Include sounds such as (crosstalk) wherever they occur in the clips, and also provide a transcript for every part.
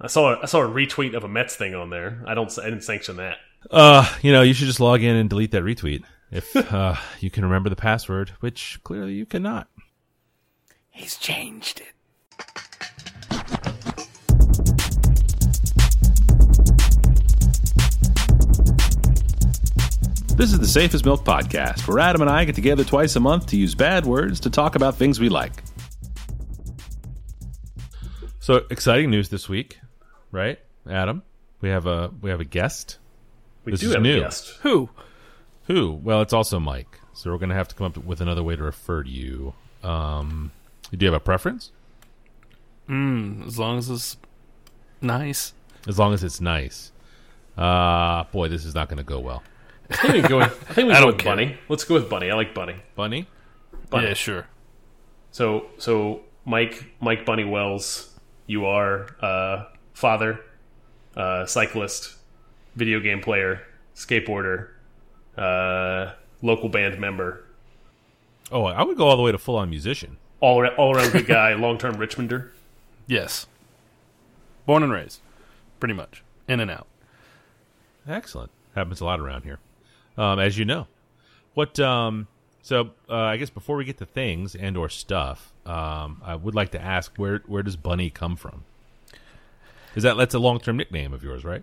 I saw I saw a retweet of a Mets thing on there. I don't I didn't sanction that. Uh, you know, you should just log in and delete that retweet if (laughs) uh, you can remember the password, which clearly you cannot. He's changed it. This is the Safest Milk Podcast, where Adam and I get together twice a month to use bad words to talk about things we like. So exciting news this week, right, Adam? We have a we have a guest. We This do is have new. a guest. Who? Who? Well, it's also Mike. So we're gonna have to come up with another way to refer to you. Um, do you have a preference? As long as it's nice. As long as it's nice. Uh boy, this is not gonna go well. I think we can go with, I think we can go I don't with care. Bunny. Let's go with Bunny. I like Bunny. Bunny. Bunny. Yeah, sure. So so Mike Mike Bunny Wells, you are uh, father, uh, cyclist, video game player, skateboarder, uh, local band member, Oh, I would go all the way to full on musician. all ar- all around good guy, (laughs) long term Richmonder. Yes. Born and raised, pretty much. In and out. Excellent. Happens a lot around here, um, as you know. What? Um, so uh, I guess before we get to things and or stuff, um, I would like to ask where where does Bunny come from? Is that that's a long term nickname of yours, right?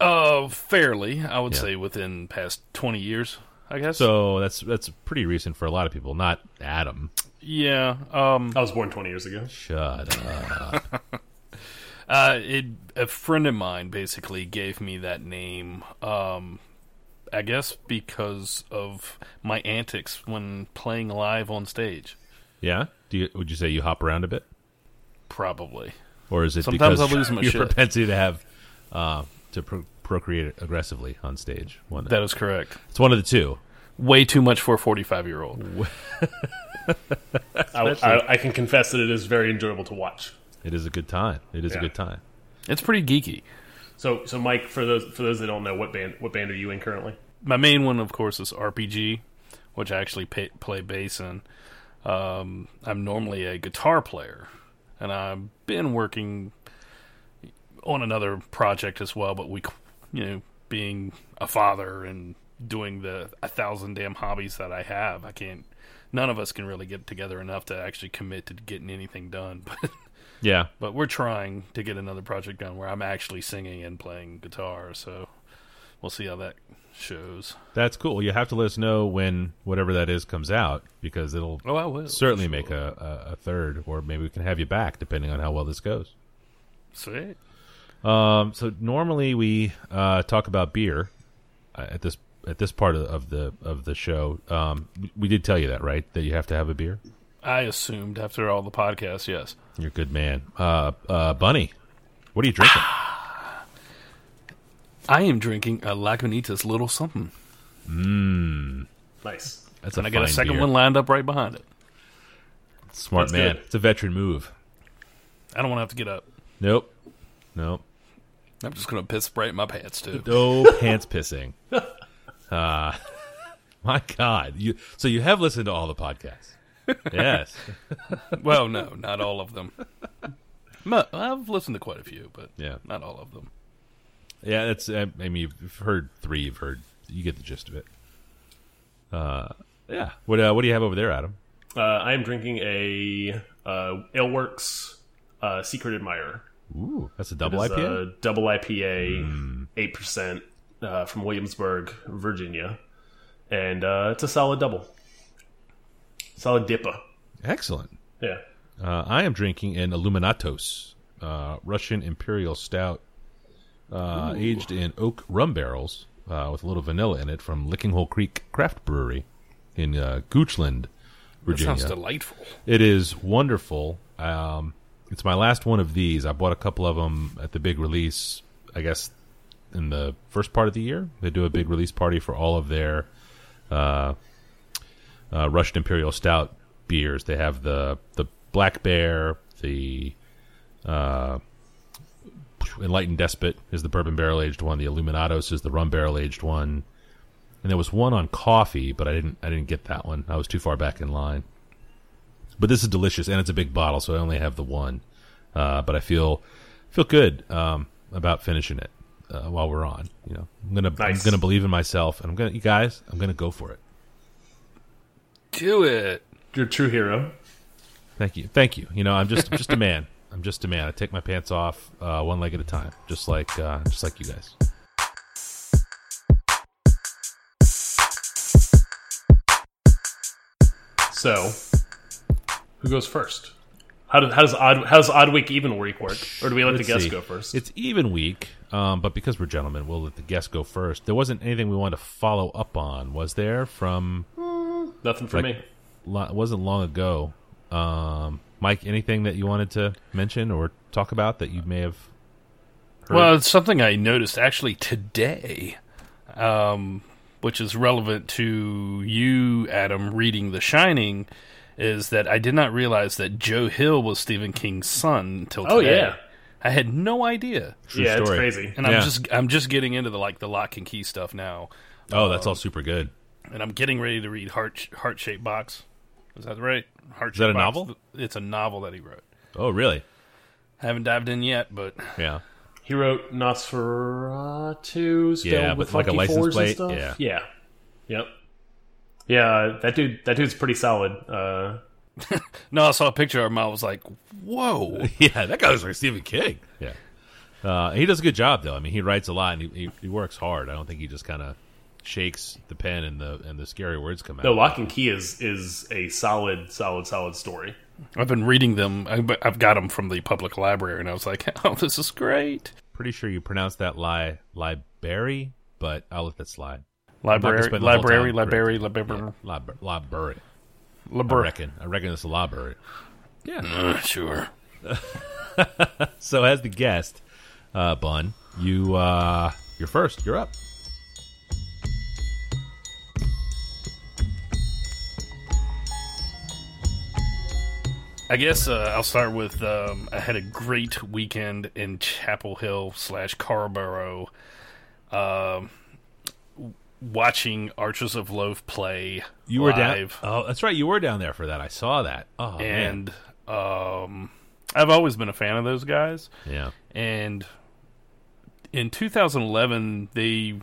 Uh, fairly, I would Yeah. say within past twenty years, I guess. So that's that's pretty recent for a lot of people. Not Adam. yeah. Um, I was born twenty years ago. Shut up. Uh, it, a friend of mine basically gave me that name. Um, I guess because of my antics when playing live on stage. Yeah. Do you, would you say you hop around a bit, Probably. or is it Sometimes because I lose my your shit. propensity to have uh, to pro procreate aggressively on stage? One. That is correct. Mm. it's one of the two. Way too much for a forty-five-year-old. I, I, I can confess that it is very enjoyable to watch. It is a good time. It is Yeah. a good time. It's pretty geeky. So, so Mike, for those for those that don't know, what band what band are you in currently? my main one, of course, is RPG, which I actually pay, play bass in. Um, I'm normally a guitar player, and I've been working on another project as well. But we, qu- you know, being a father and doing the a thousand damn hobbies that I have, I can't. None of us can really get together enough to actually commit to getting anything done. (laughs) But Yeah. but we're trying to get another project done where I'm actually singing and playing guitar. So we'll see how that shows. That's cool. You have to let us know when whatever that is comes out because it'll Oh, I will certainly sure. make a, a, a third, or maybe we can have you back depending on how well this goes. Sweet. Um, so normally we uh, talk about beer uh, at this at this part of, of the of the show. Um, we- we did tell you that, right? That you have to have a beer. I assumed after all the podcasts, yes. You're a good man, uh, uh, Bunny. What are you (sighs) drinking? I am drinking a Lagunitas Little Something, Nice. That's and I got a fine second beer. one lined up right behind it. Smart That's man. good. It's a veteran move. I don't want to have to get up. Nope. Nope. I'm just gonna piss right in my pants too. (laughs) No pants pissing. Uh, my God. You so you have listened to all the podcasts. Yes. well, no, not all of them. Mu- I've listened to quite a few, but Yeah. not all of them. Yeah, that's I I mean you've heard three, you've heard you get the gist of it. Uh yeah. What uh, what do you have over there, Adam? Uh, I am drinking a uh, Aleworks uh, Secret Admirer. Ooh, that's a Hmm. double It's IPA. a double IPA, eight percent uh, from Williamsburg, Virginia, and uh, it's a solid double, solid dipper. Excellent. Yeah, Uh, I am drinking an Illuminatos, uh, Russian Imperial Stout, uh, aged in oak rum barrels uh, with a little vanilla in it from Licking Hole Creek Craft Brewery in uh, Goochland, That sounds Virginia. delightful. It is wonderful. Um, it's my last one of these. I bought a couple of them at the big release, I guess, in the first part of the year. They do a big release party for all of their uh, uh, Russian Imperial Stout beers. They have the, the Black Bear, the uh, Enlightened Despot is the bourbon barrel aged one, the Illuminados is the rum barrel aged one. And there was one on coffee, but I didn't. I didn't get that one. I was too far back in line but this is delicious and it's a big bottle so i only have the one uh, but i feel feel good um, about finishing it uh, while we're on. You know, I'm gonna I'm Nice. gonna believe in myself, and I'm gonna you guys, I'm gonna go for it. Do it. You're a true hero. Thank you, thank you. You know, I'm just I'm just a man. I'm just a man. I take my pants off uh, one leg at a time, just like uh, just like you guys. So, who goes first? How, do, how does odd how does odd week even week work? Or do we let Let's the guests see. go first? It's even week, um, but because we're gentlemen, we'll let the guests go first. There wasn't anything we wanted to follow up on, was there? From Nothing for like- me. lo- wasn't long ago. Um, Mike, anything that you wanted to mention or talk about that you may have? heard? Well, it's something I noticed actually today, um, which is relevant to you, Adam, reading The Shining, is that I did not realize that Joe Hill was Stephen King's son until today. Oh, yeah. I had no idea, True yeah, it's story. crazy. and Yeah. I'm just I'm just getting into the like the lock and key stuff now, Oh, that's all super good. and I'm getting ready to read Heart Heart Shaped Box. Is that right? Heart that a novel? It's a novel that he wrote. Oh, really? I haven't dived in yet, but Yeah. He wrote Nosferatu, spelled Yeah, with but like a funky license fours plate, and stuff. yeah. yeah, yep, yeah. That dude, that dude's pretty solid. Uh, no, I saw a picture of him. I was like, whoa. (laughs) Yeah, that guy looks like Stephen King. Yeah. Uh, he does a good job, though. I mean, he writes a lot and he, he, he works hard. I don't think he just kind of shakes the pen and the and the scary words come out. the Lock and Key is is a solid, solid, solid story. I've been reading them. I- but I've got them from the public library, and I was like, (laughs) "Oh, this is great." Pretty sure you pronounce that lie library, but I'll let that slide. Library, spend the whole library, time library, library, Lib- Library. I library. reckon. I reckon it's a library. Uh, Sure. So, as the guest, uh, Bun, you uh, you're first. You're up. I guess uh, I'll start with. Um, I had a great weekend in Chapel Hill slash Carborough, um, w- watching Archers of Loaf play. You were down. live. Oh, that's right. You were down there for that. I saw that. Oh man. and um, I've always been a fan of those guys. Yeah. and in 2011 they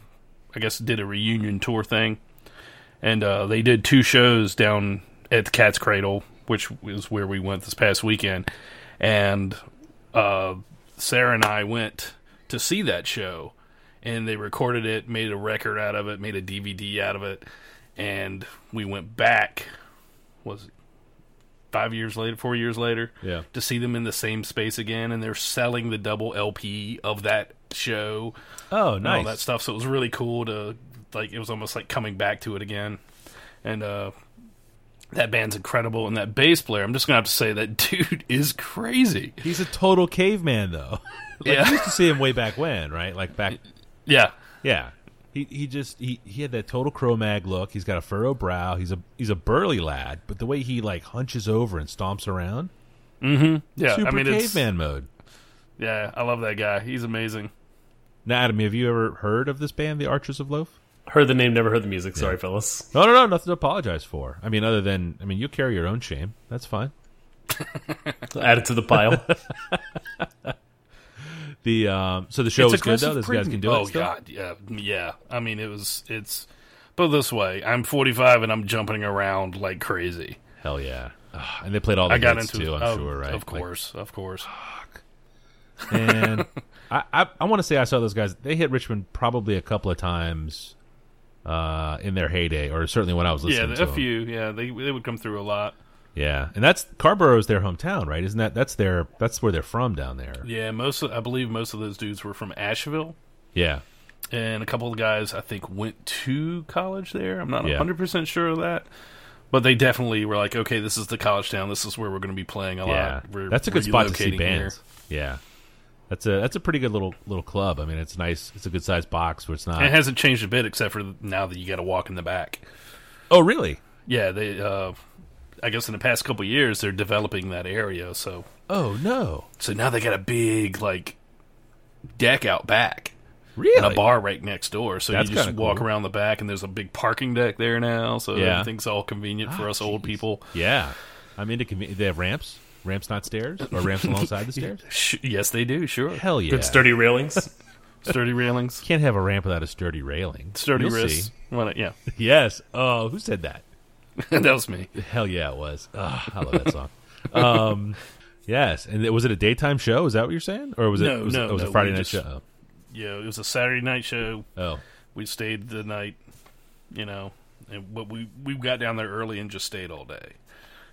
i guess did a reunion tour thing and uh, they did two shows down at the cat's cradle which was where we went this past weekend and uh, sarah and i went to see that show and they recorded it made a record out of it made a dvd out of it and we went back was it five years later four years later Yeah. to see them in the same space again, and they're selling the double LP of that show Oh, and nice. all that stuff. So it was really cool to like it was almost like coming back to it again. And uh that band's incredible, and that bass player. I'm just gonna have to say that (laughs) dude is crazy. He's a total caveman, though. like, Yeah. You used to see him way back when, right? Like back. Yeah, Yeah. He he just he, he had that total Cro-Mag look. He's got a furrowed brow. He's a he's a burly lad, but the way he like hunches over and stomps around, yeah. super I mean, it's, caveman mode. yeah, I love that guy. He's amazing. Now, Adam, have you ever heard of this band, the Archers of Loaf? Heard the name, never heard the music. Sorry, fellas. No, no, no, nothing to apologize for. I mean, other than I mean, you carry your own shame. That's fine. Add it to the (laughs) pile. The um, so the show was good though. aggressive Those guys can do preening. it. Oh still? god, yeah, yeah. I mean, it was it's. But this way, I'm 45 and I'm jumping around like crazy. Hell yeah! Ugh, and they played all the Oh, I got hits into too. I'm oh, sure, right? Of course, of (sighs) course. Like, (laughs) and I, I, I want to say I saw those guys. They hit Richmond probably a couple of times uh, in their heyday, or certainly when I was Yeah, listening a to 'em. few. Yeah, they they would come through a lot. Yeah, and that's Carborough's their hometown, right? Isn't that that's their that's where they're from down there? Yeah, most of, I believe most of those dudes were from Asheville, Yeah, and a couple of guys I think went to college there. I'm not Yeah. 100 percent sure of that, but they definitely were like, okay, this is the college town. This is where we're going to be playing a yeah. lot. We're that's a good spot to relocating see here." bands. Yeah, that's a that's a pretty good little little club. I mean, it's nice. It's a good sized box where it's not. And it hasn't changed a bit except for now that you got to walk in the back. oh, really? Yeah, they. uh I guess in the past couple of years they're developing that area, so Oh no, so now they got a big like deck out back. really? and a bar right next door. So That's you just kinda walk cool. around the back, and there's a big parking deck there now. So Yeah. Ah, everything's all convenient for us old people. Yeah, I'm into. commu- They have ramps. Ramps not stairs or (laughs) ramps alongside the stairs? Sh- yes, they do. Sure, Hell yeah! Good sturdy railings. (laughs) sturdy railings, Can't have a ramp without a sturdy railing. sturdy You'll wrists. see. (laughs) Why not? Yeah, (laughs) Yes. Oh, who said that? that was me. Hell yeah, it was. Ugh, I love that (laughs) song. um, yes, and it- was it a daytime show? Is that what you're saying, or was it? No, was no, it, it was no, a Friday we night just- show. Yeah, it was a Saturday night show. Oh, We stayed the night, you know, and but we we got down there early and just stayed all day.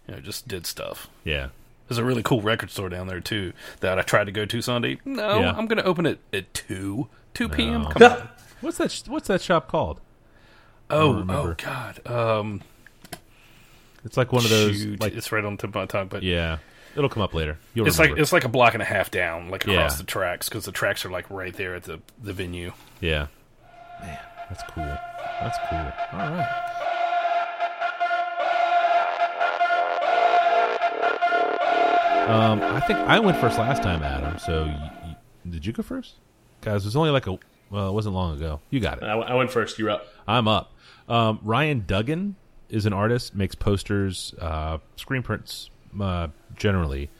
You know, just did stuff. yeah. There's a really cool record store down there too that I tried to go to Sunday. No, Yeah. I'm going to open it at two two p.m. Come on. What's that? sh- What's that shop called? Oh, remember. oh God. Um, It's like one of those. shoot, Like it's right on the tip of my tongue, but yeah, it'll come up later. You'll It's like remember. it's like a block and a half down, like across Yeah. the tracks, because the tracks are like right there at the the venue. yeah. Man, that's cool. That's cool. All right. Um, I think I went first last time, Adam. So y y did you go first? Guys, it was only like a well, it wasn't long ago. You got it. I, I went first. You're up. I'm up. Um, Ryan Duggan is an artist, makes posters, uh, screen prints uh, generally.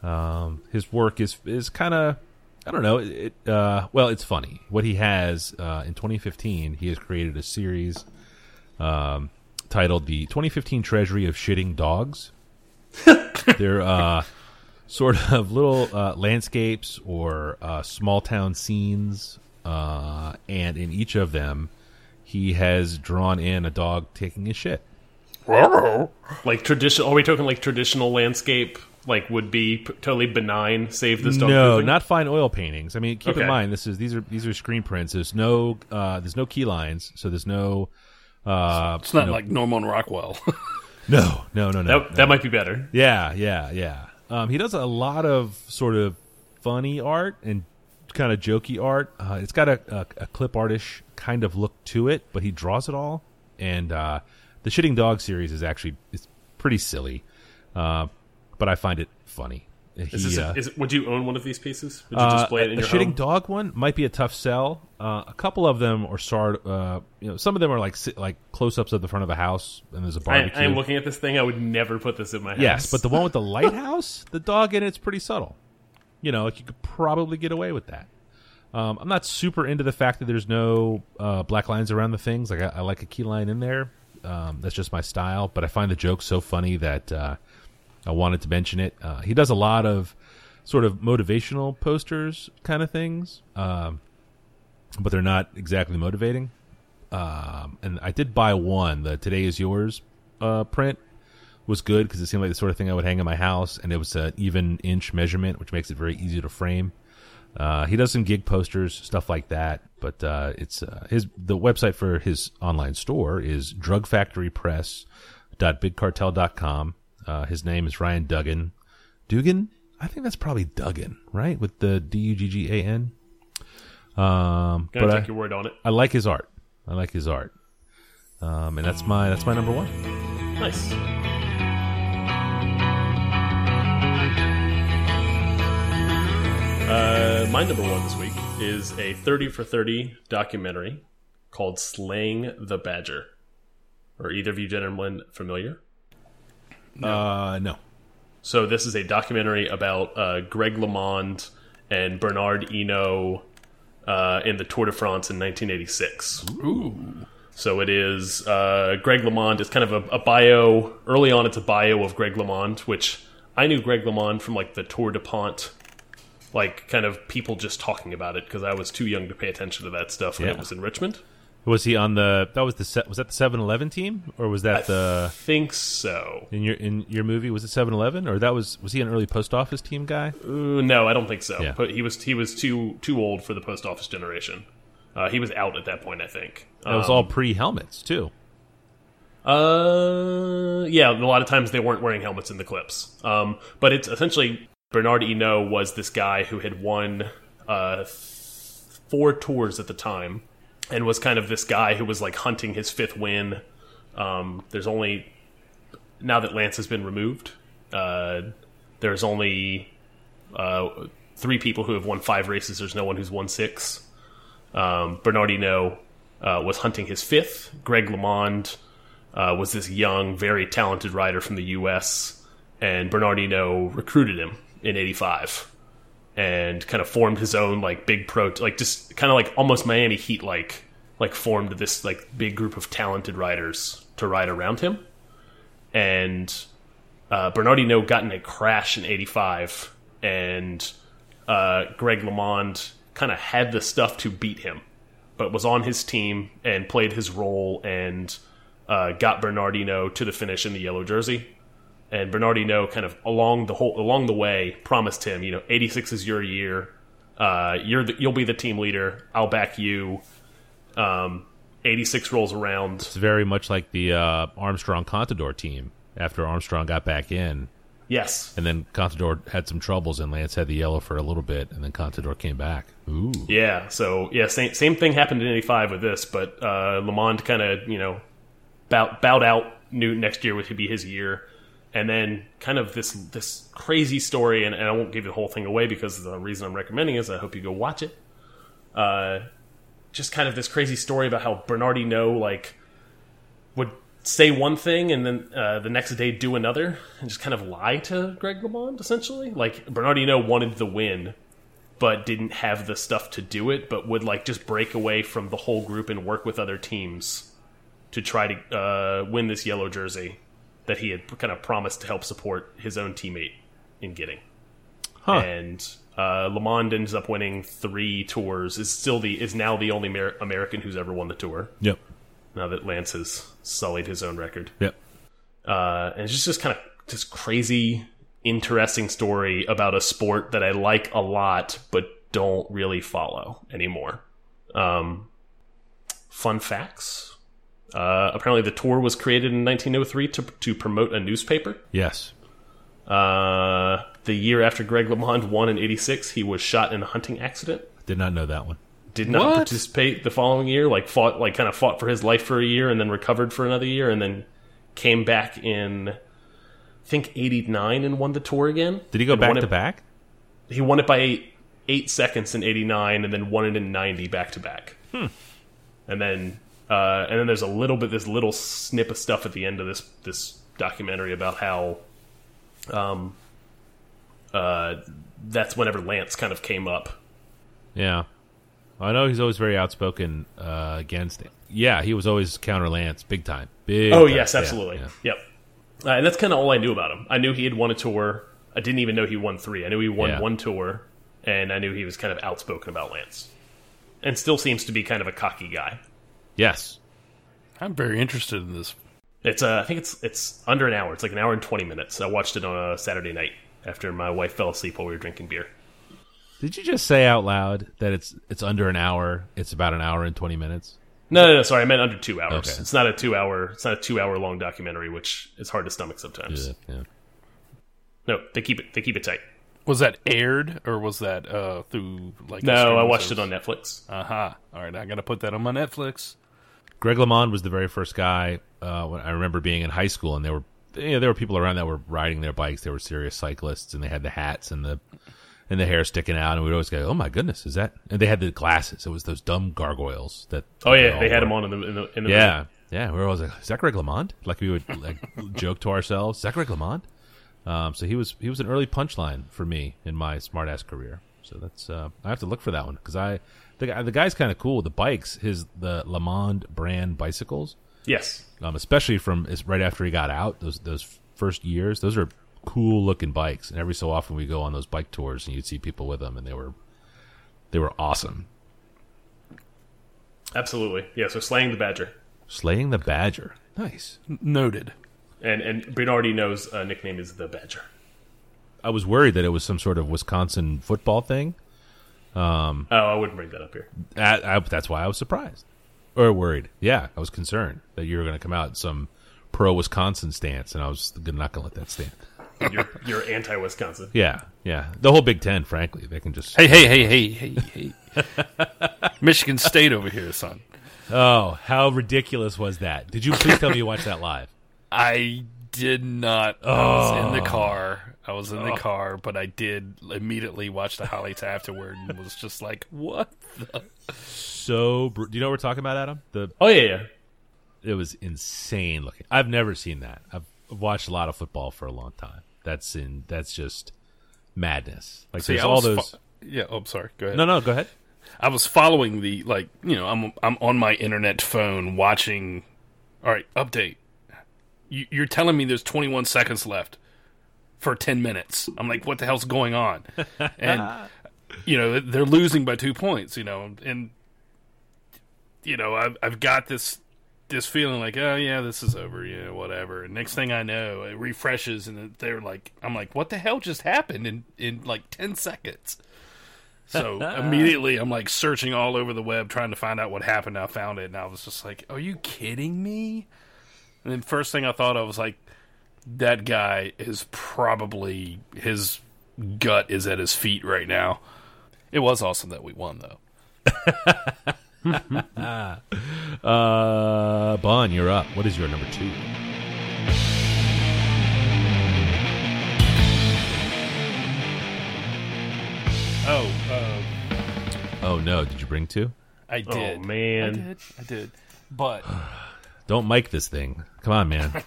Um, his work is is kind of I don't know. It, it, uh, well, it's funny. What he has uh, in 2015, he has created a series um, titled "The 2015 Treasury of Shitting Dogs." They're uh, sort of little uh, landscapes or uh, small town scenes, uh, and in each of them, he has drawn in a dog taking a shit. Like traditional. Are we talking like traditional landscape? Like would be p- totally benign. Save this dog. No, pooping? not fine oil paintings. I mean, keep in Okay. mind this is these are these are screen prints. There's no uh, there's no key lines, so there's no uh, It's not like Norman Rockwell. (laughs) no no no no. That, that might be better. Yeah, yeah, yeah. Um, he does a lot of sort of funny art and kind of jokey art. Uh, it's got a, a, a clip artish kind of look to it, but he draws it all. And uh, the Shitting Dog series is actually it's pretty silly, uh, but I find it funny. Is He, this a- uh, is it- would you own one of these pieces? Would you display uh, it in a your shitting home? dog one might be a tough sell. Uh, a couple of them are sort uh, you know, some of them are like si- like close ups of the front of a house, and there's a I, barbecue. I am looking at this thing. I would never put this in my house. Yes, but the one with the lighthouse, the dog in it's pretty subtle. You know, like you could probably get away with that. Um, I'm not super into the fact that there's no uh, black lines around the things. Like I, I like a key line in there. Um, that's just my style. But I find the joke so funny that uh, I wanted to mention it. Uh, he does a lot of sort of motivational posters kind of things, um, but they're not exactly motivating. Um, and I did buy one. The "Today Is Yours" uh, print was good because it seemed like the sort of thing I would hang in my house, and it was an even inch measurement, which makes it very easy to frame. Uh, he does some gig posters, stuff like that, but uh, it's uh, his the website for his online store is drugfactorypress.bigcartel.com. Uh, his name is Ryan Duggan. Dugan, I think that's probably Duggan, right? With the D U G G A N. Um, Gonna but take I- your word on it. I like his art. I like his art. Um, and that's my that's my number one. Nice. Uh, my number one this week is a 30 for 30 documentary called Slaying the Badger. Are either of you gentlemen familiar? Uh, no. So this is a documentary about uh, Greg LeMond and Bernard Eno uh, in the Tour de France in 1986. So it is uh, Greg LeMond. It's kind of a, a bio. Early on, it's a bio of Greg LeMond, which I knew Greg LeMond from like the Tour de Pont, like kind of people just talking about it because I was too young to pay attention to that stuff when Yeah. it was in Richmond. Was he on the? That was the. se- Was that the Seven Eleven team, or was that the Think so? in your in your movie? Was it Seven Eleven, or that was was he an early post office team guy? Ooh, Uh, no, I don't think so. Yeah. But he was he was too too old for the post office generation. Uh, he was out at that point, I think. That was all pre helmets too. Uh, yeah, a lot of times they weren't wearing helmets in the clips. Um, but it's essentially Bernard Eno was this guy who had won uh, four tours at the time and was kind of this guy who was like hunting his fifth win. Um, there's only now that Lance has been removed, uh, there's only uh, three people who have won five races. There's no one who's won six. Um, Bernardino uh, was hunting his fifth. Greg LeMond uh, was this young, very talented rider from the U.S. and Bernardino recruited him in '85 and kind of formed his own like big pro like just kind of like almost Miami Heat like like formed this like big group of talented riders to ride around him and uh, Bernardino got in a crash in '85 and uh, Greg LeMond kind of had the stuff to beat him but was on his team and played his role and uh, got Bernardino to the finish in the yellow jersey and Bernardino kind of along the whole along the way promised him, you know, 86 is your year. Uh, you're the, you'll be the team leader. I'll back you. Um, 86 rolls around. It's very much like the uh, Armstrong Contador team after Armstrong got back in. Yes. And then Contador had some troubles, and Lance had the yellow for a little bit, and then Contador came back. Ooh. Yeah. So yeah, same same thing happened in 85 with this, but uh, Lamond kind of you know bowed, bowed out. Knew next year would be his year, and then kind of this this crazy story. And, and I won't give you the whole thing away because the reason I'm recommending is I hope you go watch it. Uh, just kind of this crazy story about how Bernardino like would say one thing and then uh, the next day do another and just kind of lie to Greg LeMond essentially. Like Bernardino wanted the win but didn't have the stuff to do it, but would like just break away from the whole group and work with other teams to try to uh, win this yellow jersey that he had kind of promised to help support his own teammate in getting. Huh. And uh, Lamond ends up winning three tours. Is still the is now the only Amer American who's ever won the tour. Yep. Now that Lance has sullied his own record Yep. uh, and it's just this kind of this crazy, interesting story about a sport that I like a lot, but don't really follow anymore. Um, fun facts: uh, apparently, the tour was created in 1903 to to promote a newspaper. Yes. Uh, the year after Greg LeMond won in '86, he was shot in a hunting accident. Did not know that one. Did not What? participate the following year. Like fought, like kind of fought for his life for a year, and then recovered for another year, and then came back in, I think '89 and won the tour again. Did he go back won to it- back? He won it by eight, eight seconds in '89, and then won it in '90 back to back. And then, uh, and then there's a little bit this little snip of stuff at the end of this this documentary about how, um, uh, that's whenever Lance kind of came up. Yeah. I know he's always very outspoken uh, against it. Yeah, he was always counter Lance, big time. Big. Oh time. yes, Yeah, absolutely. yeah. Yep. Uh, and that's kind of all I knew about him. I knew he had won a tour. I didn't even know he won three. I knew he won Yeah. one tour, and I knew he was kind of outspoken about Lance, and still seems to be kind of a cocky guy. Yes. I'm very interested in this. It's uh, I think it's it's under an hour. It's like an hour and twenty minutes. I watched it on a Saturday night after my wife fell asleep while we were drinking beer. Did you just say out loud that it's it's under an hour? It's about an hour and twenty minutes. No, no, no sorry, I meant under two hours. Okay. It's not a two hour. It's not a two hour long documentary, which is hard to stomach sometimes. yeah. No, they keep it. They keep it tight. Was that aired or was that uh, through like? No, I watched it on Netflix. Aha! All right, I gotta put that on my Netflix. Greg LeMond was the very first guy uh, when I remember being in high school, and there were you know, there were people around that were riding their bikes. They were serious cyclists, and they had the hats and the and the hair sticking out, and we'd always go, "Oh my goodness, is that?" And they had the glasses. It was those dumb gargoyles that. Oh yeah, all they had wore. him on in the in the, in the Yeah, yeah. We were always like, "Is that Greg LeMond?" Like we would like (laughs) joke to ourselves, "Is that Greg LeMond?" Um, so he was he was an early punchline for me in my smart ass career. So that's uh, I have to look for that one because I the guy the guy's kind of cool. The bikes, his the LeMond brand bicycles, Yes. um, especially from is right after he got out those those first years. Those are cool looking bikes, and every so often we go on those bike tours and you'd see people with them, and they were they were awesome. Absolutely. Yeah, so slaying the badger. Slaying the Badger, nice. N- Noted. And and Bernardino's uh, nickname is the Badger. I was worried that it was some sort of Wisconsin football thing. Oh, I wouldn't bring that up here. That, I, that's why I was surprised or worried. Yeah, I was concerned that you were going to come out in some pro Wisconsin stance, and I was not going to let that stand. You're (laughs) you're anti Wisconsin. Yeah, yeah. The whole Big Ten, frankly, they can just. Hey, hey, hey, hey, hey, hey. (laughs) Michigan State over here, son. (laughs) Oh, how ridiculous was that? Did you please tell me you watched that live? I did not. I was Oh. in the car. I was in the car, but I did immediately watch the highlights afterward and was just like, "What?" So, br- do you know what we're talking about, Adam? The Oh yeah, yeah. it was insane looking. I've never seen that. I've I've watched a lot of football for a long time. That's in that's just madness. Like See, there's I all was those. fo- yeah. Oh, sorry. Go ahead. no, no, go ahead. I was following the like you know I'm I'm on my internet phone watching. All right, update. You, you're telling me there's 21 seconds left for 10 minutes. I'm like, what the hell's going on? And you know they're losing by two points. You know, and you know I've I've got this this feeling like oh yeah this is over you know whatever. And next thing I know it refreshes and they're like I'm like what the hell just happened in in like 10 seconds. So (laughs) immediately I'm like searching all over the web trying to find out what happened. I found it and I was just like, Are you kidding me? And then first thing I thought of was like, that guy is probably his gut is at his feet right now. It was awesome that we won though. Uh, Bon, you're up. What is your number two? Oh, uh, oh, Oh no, did you bring two? I did. I man. did. I did. But Don't mic this thing. Come on, (laughs) man.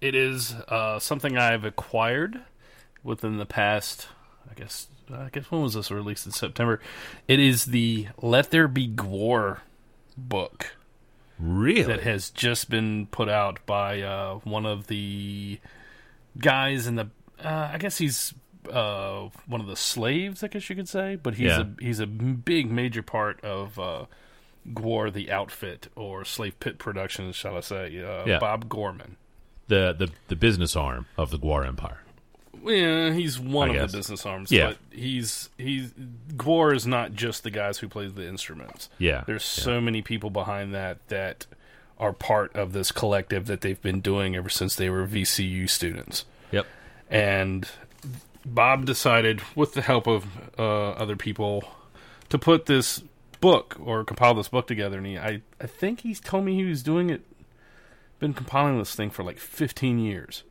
it is uh, something I've acquired within the past. I guess. I guess when was this released in September? It is the Let There Be Gore book that really? has just been put out by uh, one of the guys in the. Uh, I guess he's uh, one of the slaves. I guess you could say, but he's Yeah. a he's a big major part of. Uh, Gore the outfit or Slave Pit Productions, shall I say? Uh, Yeah. Bob Gorman. The the the business arm of the Guar Empire. Yeah, he's one I of guess. the business arms. Yeah. but he's he's Gore is not just the guys who play the instruments. Yeah, there's so many people behind that that are part of this collective that they've been doing ever since they were VCU students. Yep. And Bob decided, with the help of uh, other people, to put this book or compile this book together. And he, I, I think he's told me he was doing it, been compiling this thing for like 15 years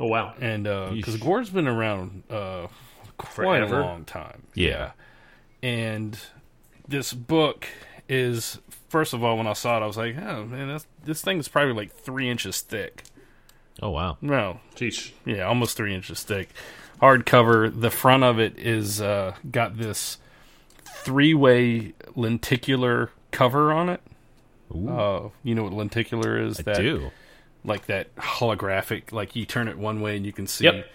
Oh wow. and because Yeesh. Gore's been around uh, quite Forever. a long time. Yeah. and this book is first of all when I saw it, I was like, oh man, that's, this thing is probably like three inches thick. Oh wow. No, Jeez. yeah, almost three inches thick. Hardcover. The front of it is uh, got this three-way lenticular cover on it. Ooh, Uh, you know what lenticular is? I that do. like that holographic like you turn it one way and you can see Yep.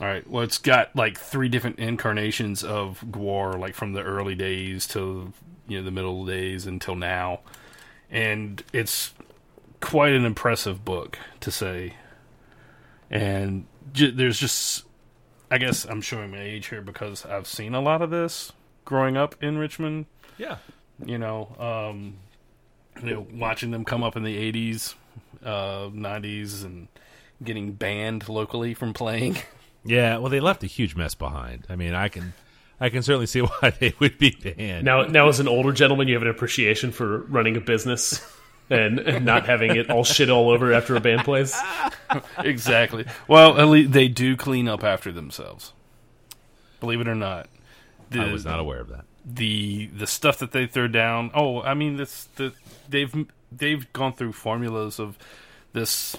all right well it's got like three different incarnations of guar like from the early days to you know the middle days until now and it's quite an impressive book to say and j- there's just i guess i'm showing my age here because i've seen a lot of this growing up in richmond Yeah. you know, um, you know, watching them come up in the '80s, uh, '90s, and getting banned locally from playing. (laughs) Yeah. Well, they left a huge mess behind. I mean, I can, I can certainly see (laughs) why they would be banned. Now, now as an older gentleman, you have an appreciation for running a business and, and not having it all shit all over after a band plays. exactly. Well, at least they do clean up after themselves. Believe it or not, the, I was not aware of that. the the stuff that they throw down. Oh, I mean, this the they've they've gone through formulas of this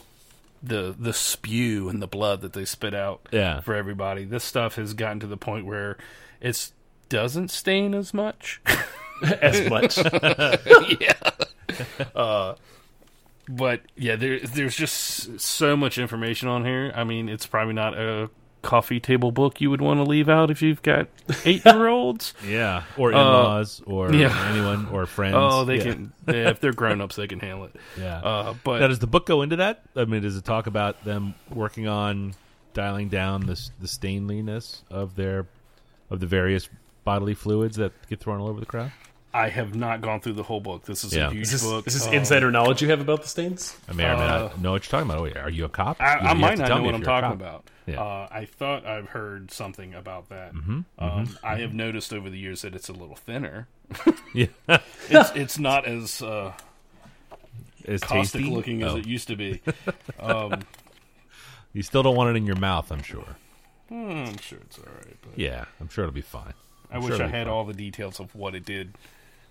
the the spew and the blood that they spit out. Yeah. for everybody. This stuff has gotten to the point where it's doesn't stain as much. As much. but yeah, there there's just so much information on here. I mean, it's probably not a coffee table book you would want to leave out if (laughs) you've got eight year olds. (laughs) Yeah. Or in-laws, or Uh, yeah. anyone, or friends. oh, they Yeah. can. Yeah, if they're grown ups, they can handle it. Yeah. Uh, but now, does the book go into that? I mean, does it talk about them working on dialing down the s- the stainliness of their of the various bodily fluids that get thrown all over the crowd? I have not gone through the whole book. This is Yeah. a huge Is this, book. is this Um, insider knowledge you have about the stains? I mean, I, mean, I know what you're talking about. Wait, Are you a cop? Uh, I, You- you I have might to not tell know me what if I'm you're a talking cop. about. Yeah. Mm-hmm, Uh, I thought I've heard something about that. Um, I have noticed over the years that it's a little thinner. (laughs) Yeah, It's, it's not as uh, it's caustic tasty. looking as Oh. it used (laughs) to be. You still don't want it in your mouth, I'm sure. Hmm, I'm sure it's all right. But Yeah, I'm sure it'll be fine. I I'm wish sure I it'll be had fine. all the details of what it did,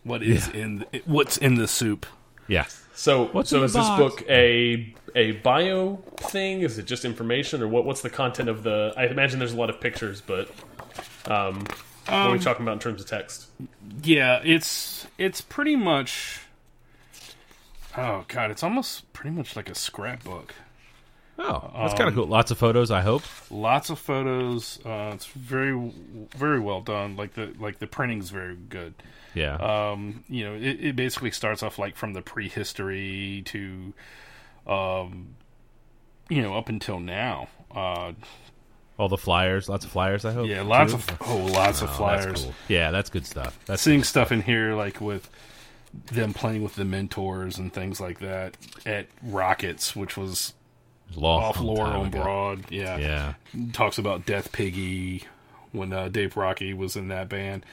what is in what's in the soup. Yeah. So, What's so in the is box? this book a a bio thing? Is it just information, or what? What's the content of the? I imagine there's a lot of pictures, but um, what are we talking about in terms of text? Yeah, it's it's pretty much. Oh god, it's almost pretty much like a scrapbook. Oh, that's kind of Um, cool. Lots of photos, I hope. Lots of photos. Uh, it's very very well done. Like the like the printing's very good. Yeah. Um, you know, it, it basically starts off like from the prehistory to, um, you know, up until now. Uh, All the flyers, lots of flyers, I hope. yeah, lots too. of oh, lots of Oh, that's flyers. cool. Yeah, that's good stuff. That's seeing stuff in here like with them playing with the mentors and things like that at Rockets, which was law off some time Laurel and ago. Broad. Yeah. Yeah. talks about Death Piggy when uh, Dave Rocky was in that band.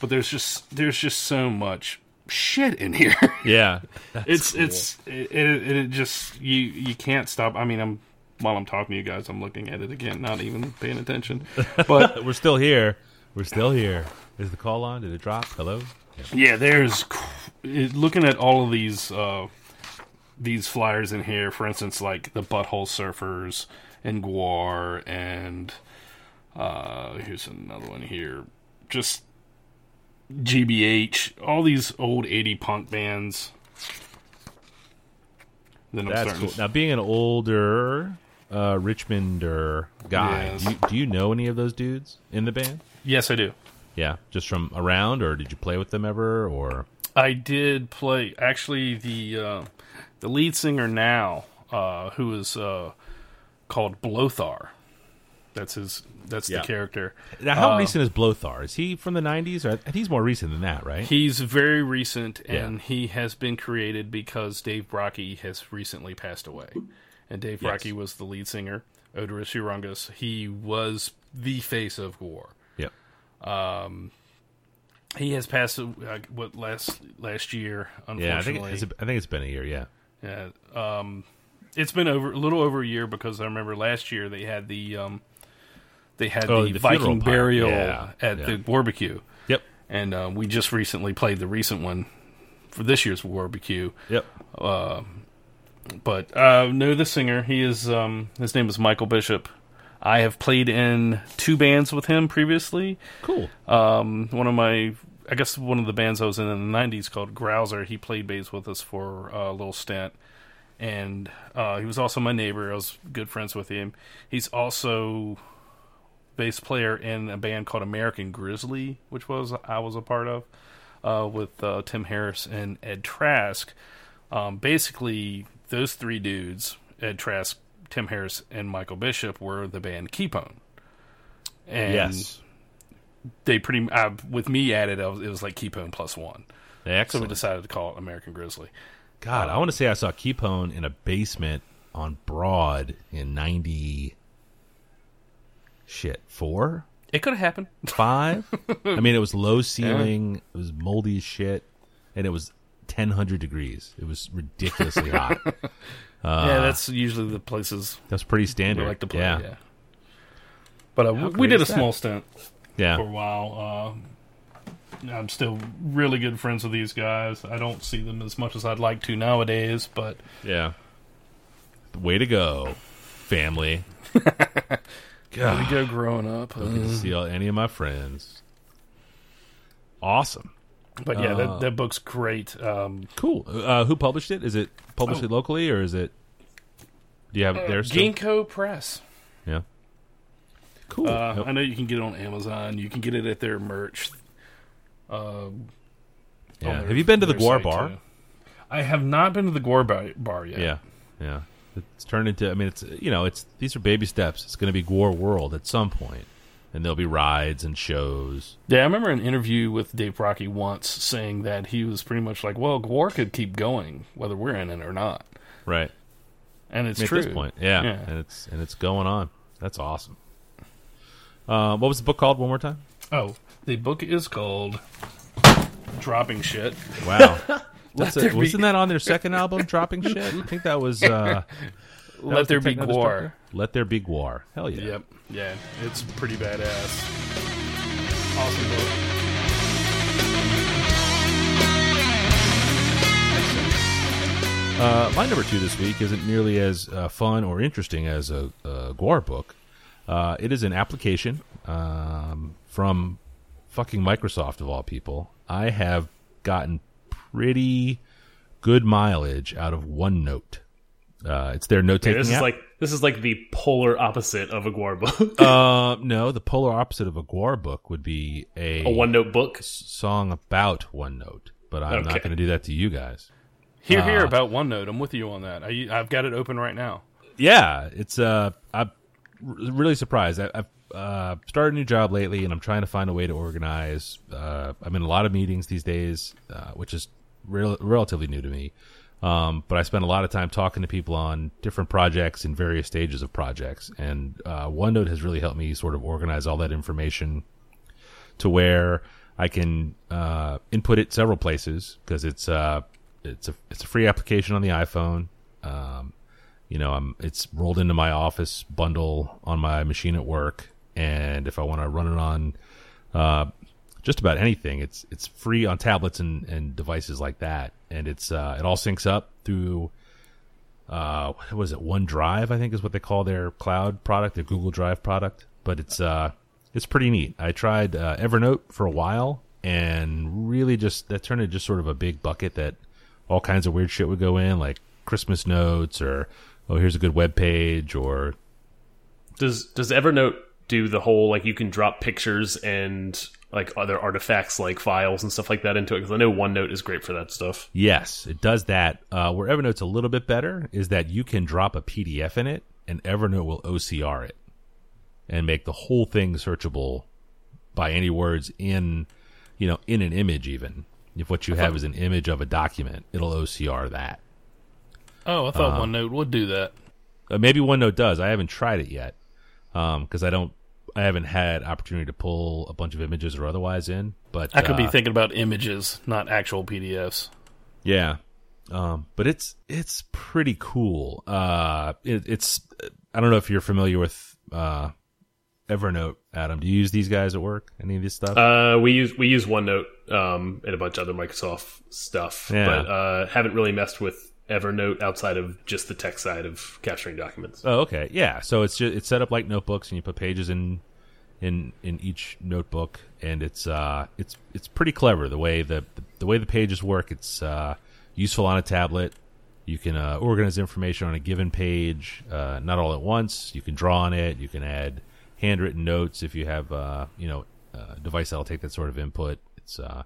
But there's just there's just so much shit in here. (laughs) Yeah. it's it's it, it it just you you can't stop. I mean, I'm while I'm talking to you guys, I'm looking at it again, not even paying attention. (laughs) But We're still here. We're still here. Is the call on? Did it drop? Hello? Yeah, there's cr- it- looking at all of these uh, these flyers in here. For instance, like the Butthole Surfers and Guar, and uh, here's another one here. Just GBH, all these old eighty punk bands. Then I'm That's starting. cool. Now, being an older uh, Richmonder guy, Yes. do, you, do you know any of those dudes in the band? yes, I do. Yeah, just from around, or did you play with them ever? Or I did play actually the uh, the lead singer now, uh, who is uh, called Blothar. That's his. That's Yeah. the character. now, how recent is Blothar? Is he from the '90s? Or I think he's more recent than that, right? He's very recent, Yeah. and he has been created because Dave Brocky has recently passed away, and Dave Brocky was the lead singer. Odorous Urungus. He was the face of War. yep. He has passed uh, what last last year. Unfortunately, Yeah, I think it's, I think it's been a year. Yeah. Yeah. Um, it's been over a little over a year because I remember last year they had the um, they had Oh, the, the funeral Viking pyre. burial Yeah, at yeah. the barbecue, Yep. and uh, we just recently played the recent one for this year's barbecue. Yep. But uh, no, the singer he is um, his name is Michael Bishop. I have played in two bands with him previously. Cool. Um, one of my I guess one of the bands I was in in the '90s called Grouser. He played bass with us for uh, a little stint, and uh, he was also my neighbor. I was good friends with him. He's also bass player in a band called American Grizzly, which was I was a part of uh, with uh, Tim Harris and Ed Trask. Um, basically, those three dudes, Ed Trask, Tim Harris, and Michael Bishop, were the band Keepone. And yes. they pretty uh, with me added, I was, it was like Keepone plus one. So we Excellent. decided to call it American Grizzly. God, I want to say I saw Keepone in a basement on Broad in ninety shit four It could have happened. five. I mean, it was (laughs) low ceiling. It was moldy as shit, and it was ten hundred degrees. It was ridiculously (laughs) hot. yeah, that's usually the places That's pretty we standard. like to play. Uh, yeah. Yeah. But uh, we great did a is that? small stint Yeah. for a while. Uh, I'm still really good friends with these guys. I don't see them as much as I'd like to nowadays, but (sighs) Yeah. Way to go, family. we God, go growing up. uh, didn't see all- any of my friends. Awesome. but yeah, Uh, that, that book's great. Um, Cool. Uh, who published it? Is it Oh. published it locally or is it? Do you Uh, have it there still? Ginkgo Press. Yeah. Cool. Uh, Yep. I know you can get it on Amazon. You can get it at their merch. Yeah. on their- Have you been to the their Guar site, Bar? too. I have not been to the Gore Bar, bar yet. Yeah, yeah. It's turned into. I mean, it's you know, it's these are baby steps. It's going to be Gore World at some point, and there'll be rides and shows. Yeah, I remember an interview with Dave Rocky once saying that he was pretty much like, "Well, Gore could keep going whether we're in it or not," Right and it's I mean, true. at this point, yeah. Yeah. And it's and it's going on. That's awesome. Uh, what was the book called? One more time. Oh, the book is called "Dropping Shit." Wow. (laughs) That's Let a, there be- wasn't that on their second album, Dropping Shit? I think that was. Uh, that (laughs) Let was the there be Techno Gore. Destructor? Let there be Guar. Hell yeah. Yep. Yeah, it's pretty badass. Awesome book. Uh, my number two this week isn't nearly as uh, fun or interesting as a, a Guar book. Uh, it is an application um, from fucking Microsoft of all people. I have gotten pretty good mileage out of OneNote. Uh, it's their note taking This is app. like this is like the polar opposite of a Guar book. (laughs) uh, no, the polar opposite of a Guar book would be a, a one note book. song about OneNote. But I'm not Okay. going to do that to you guys. Hear, hear Uh-huh. about OneNote. I'm with you on that. I, I've got it open right now. yeah, it's uh, I'm r- really surprised. I, I've uh, started a new job lately, and I'm trying to find a way to organize. Uh, I'm in a lot of meetings these days, uh, which is rel- relatively new to me. Um, but I spend a lot of time talking to people on different projects and various stages of projects, and uh, OneNote has really helped me sort of organize all that information to where I can uh, input it several places because it's uh, it's a it's a free application on the iPhone. Um, you know, I'm it's rolled into my office bundle on my machine at work, and if I want to run it on uh, just about anything, it's it's free on tablets and, and devices like that, and it's uh, it all syncs up through. Uh, what was it? OneDrive, I think, is what they call their cloud product, their Google Drive product. But it's uh, it's pretty neat. I tried uh, Evernote for a while, and really just that turned into just sort of a big bucket that all kinds of weird shit would go in, like Christmas notes or oh here's a good web page or Does does Evernote do the whole like you can drop pictures and like other artifacts like files and stuff like that into it? Because I know OneNote is great for that stuff. yes, it does that. Uh, where Evernote's a little bit better is that you can drop a PDF in it and Evernote will OCR it and make the whole thing searchable by any words in you know in an image even if what you have is an image of a document it'll OCR that. Oh, I Uh-huh. thought OneNote would do that. Uh, maybe OneNote does. I haven't tried it yet because I don't. I haven't had opportunity to pull a bunch of images or otherwise in. But I could be uh, thinking about images, not (laughs) actual PDFs. yeah. Um, but it's it's pretty cool. Uh, it, it's I don't know if you're familiar with uh, Evernote, Adam. Do you use these guys at work? Any of this stuff? Uh, we use we use OneNote um, and a bunch of other Microsoft stuff, Yeah. but uh, haven't really messed with Evernote outside of just the tech side of capturing documents. Oh, okay. Yeah. So it's just, it's set up like notebooks, and you put pages in in in each notebook, and it's uh it's it's pretty clever the way the the, way the pages work. It's uh, useful on a tablet. You can uh, organize information on a given page, uh, not all at once. You can draw on it. You can add handwritten notes if you have uh, you know a device that'll take that sort of input. It's uh,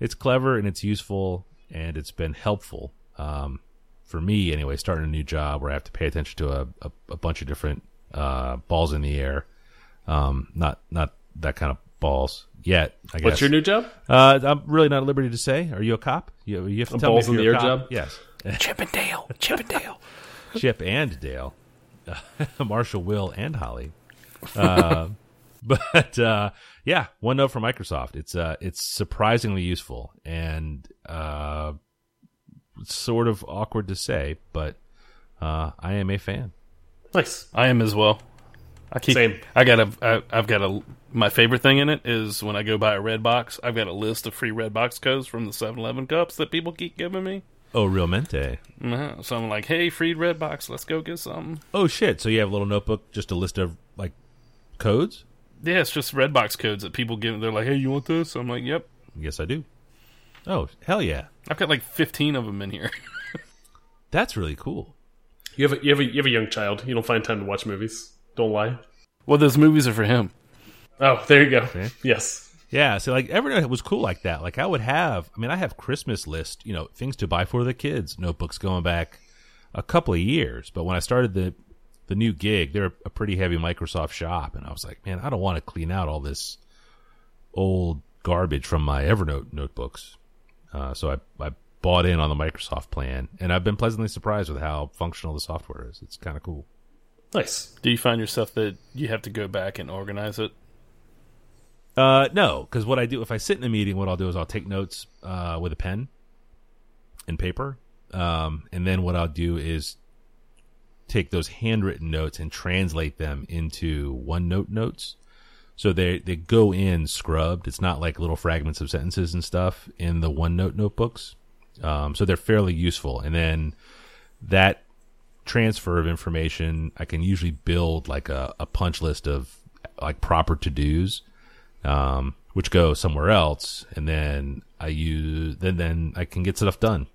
it's clever and it's useful and it's been helpful. Um, for me anyway, starting a new job where I have to pay attention to a, a, a bunch of different uh, balls in the air. Um, not not that kind of balls yet. I guess. What's your new job? Uh, I'm really not at liberty to say. Are you a cop? You, you have to tell balls me if in you're the a air cop. job? Yes, Chip and Dale, Chip and Dale. Chip and Dale, (laughs) Marshall, Will, and Holly. Uh, but uh, yeah, OneNote from Microsoft. It's uh, it's surprisingly useful and uh, sort of awkward to say, but uh, I am a fan. Nice. I am as well. I keep. Same. I got a. I, I've got a. My favorite thing in it is when I go buy a red box. I've got a list of free red box codes from the 7-Eleven cups that people keep giving me. Oh, realmente. Mhm. So I'm like, hey, free red box. Let's go get something. Oh shit! So you have a little notebook, just a list of like codes. Yeah, it's just red box codes that people give. They're like, hey, you want this? I'm like, yep. Yes, I do. Oh hell yeah! I've got like 15 of them in here. (laughs) That's really cool. You have a, you have a, you have a young child. You don't find time to watch movies. Don't lie. well, those movies are for him. Oh, there you go. Yes. Yeah, so like Evernote was cool like that. Like I would have, I mean, I have Christmas list, you know, things to buy for the kids, notebooks going back a couple of years. But when I started the the new gig, they're a pretty heavy Microsoft shop, and I was like, man, I don't want to clean out all this old garbage from my Evernote notebooks. Uh, so I I bought in on the Microsoft plan, and I've been pleasantly surprised with how functional the software is. It's kind of cool. Nice. Do you find yourself that you have to go back and organize it? Uh, no, because what I do if I sit in a meeting, what I'll do is I'll take notes uh, with a pen and paper, um, and then what I'll do is take those handwritten notes and translate them into OneNote notes. So they they go in scrubbed. It's not like little fragments of sentences and stuff in the OneNote notebooks. Um, so they're fairly useful. And then that transfer of information, I can usually build like a, a punch list of like proper to dos, um, which go somewhere else, and then I use then then I can get stuff done,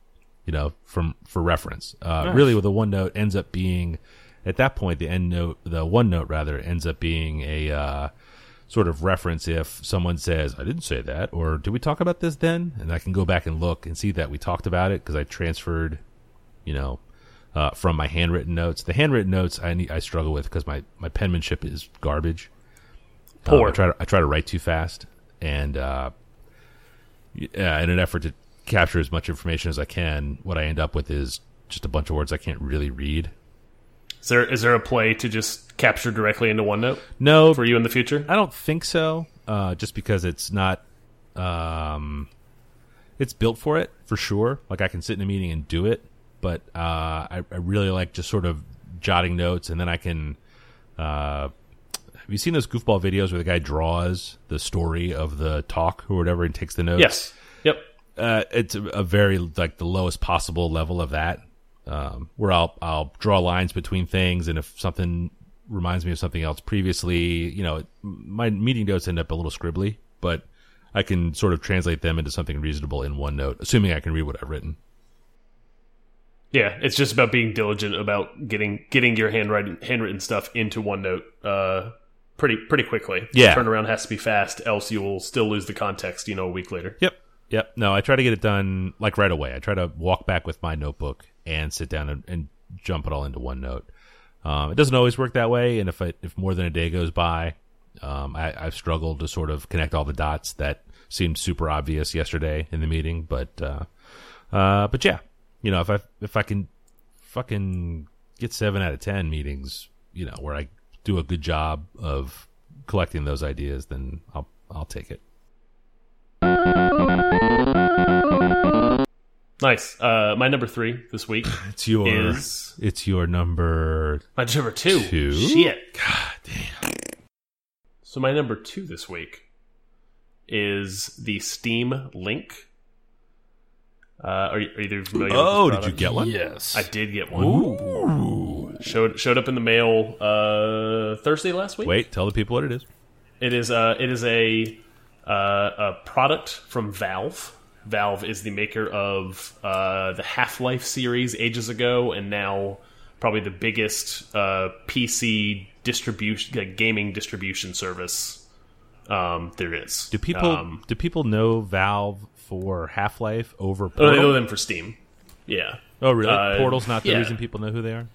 you know, from for reference. Uh, Really, with a OneNote ends up being at that point the end note the OneNote rather ends up being a uh, sort of reference if someone says I didn't say that or did we talk about this then, and I can go back and look and see that we talked about it because I transferred, you know, uh, from my handwritten notes. The handwritten notes I need, I struggle with because my, my penmanship is garbage. Um, Poor. I try to I try to write too fast, and uh, yeah, in an effort to capture as much information as I can, what I end up with is just a bunch of words I can't really read. Is there is there a play to just capture directly into OneNote No, for you in the future? I don't think so. Uh, just because it's not, um, it's built for it for sure. Like I can sit in a meeting and do it, but uh, I, I really like just sort of jotting notes, and then I can. Uh, have you seen those goofball videos where the guy draws the story of the talk or whatever and takes the notes? Yes. Yep. uh, it's a- a very like the lowest possible level of that, um, where I'll I'll draw lines between things, and if something reminds me of something else previously, you know, my meeting notes end up a little scribbly, but I can sort of translate them into something reasonable in OneNote, assuming I can read what I've written. Yeah, it's just about being diligent about getting getting your handwriting handwritten stuff into OneNote uh, pretty pretty quickly. Yeah. turnaround has to be fast, else you will still lose the context. You know, a week later. Yep. Yep. No, I try to get it done like right away. I try to walk back with my notebook and sit down and, and jump it all into OneNote. Um, it doesn't always work that way, and if I, if more than a day goes by, um, I, I've struggled to sort of connect all the dots that seemed super obvious yesterday in the meeting. But uh, uh, but yeah, you know, if I if I can fucking get seven out of ten meetings, you know, where I do a good job of collecting those ideas, then I'll I'll take it. Nice. Uh, my number three this (laughs) week It's your is It's your number. my number two. Two? Shit. God damn. So my number two this week is the Steam Link. Uh, are, you- are either familiar? Oh, with this did you product? get one? Yes. I did get one. Showed showed up in the mail uh, Thursday last week. Wait, tell the people what it is. It is a it is a uh, a product from Valve. Valve is the maker of uh, the Half Life series ages ago, and now probably the biggest uh, PC distribution like, gaming distribution service um, there is. Do people Um, do people know Valve for Half Life over oh, they Portal? know them for Steam. Yeah. oh, really? uh, Portal's not the yeah. reason people know who they are.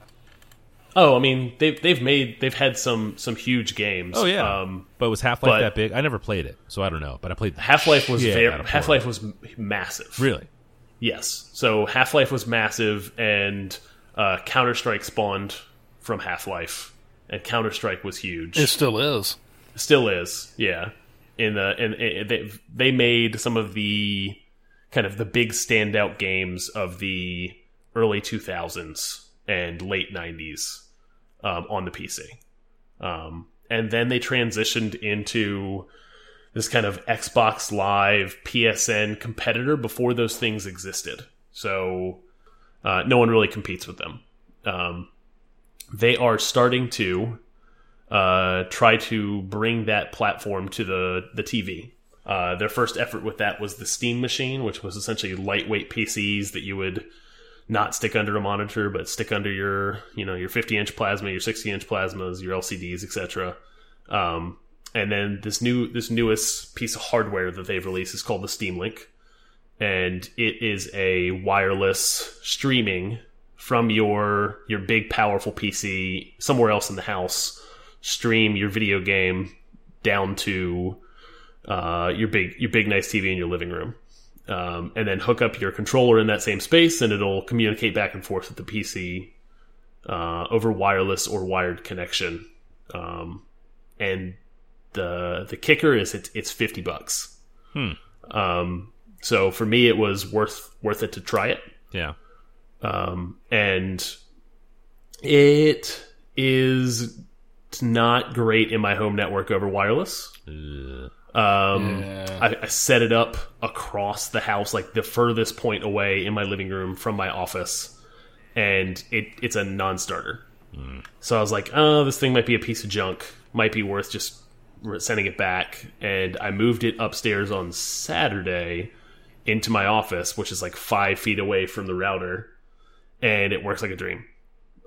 Oh, I mean they've they've made they've had some some huge games. Oh yeah, Um, but was Half but- Life that big? I never played it, so I don't know. But I played the Half Life was shit out very, of Half Life was m- massive. Portal. Really? Yes. So Half Life was massive, and uh, Counter Strike spawned from Half Life, and Counter Strike was huge. It still is. Still is. Yeah. In the and they they made some of the kind of the big standout games of the early 2000s and late 90s um, on the PC. Um, and then they transitioned into this kind of Xbox Live PSN competitor before those things existed. So uh, no one really competes with them. Um, they are starting to uh, try to bring that platform to the the TV. Uh, their first effort with that was the Steam Machine, which was essentially lightweight PCs that you would not stick under a monitor, but stick under your you know your 50 inch plasma, your 60 inch plasmas, your LCDs, etc. Um, and then this new this newest piece of hardware that they've released is called the Steam Link, and it is a wireless streaming from your your big powerful PC somewhere else in the house stream your video game down to uh, your big your big nice TV in your living room, um, and then hook up your controller in that same space, and it'll communicate back and forth with the PC uh, over wireless or wired connection. Um, and the the kicker is it's it's fifty bucks. Um, so for me, it was worth worth it to try it Yeah. um, and it is not great in my home network over wireless. Um, I, I set it up across the house, like the furthest point away in my living room from my office, and it it's a non-starter. So I was like, oh, this thing might be a piece of junk. Might be worth just re- sending it back. And I moved it upstairs on Saturday into my office, which is like five feet away from the router, and it works like a dream.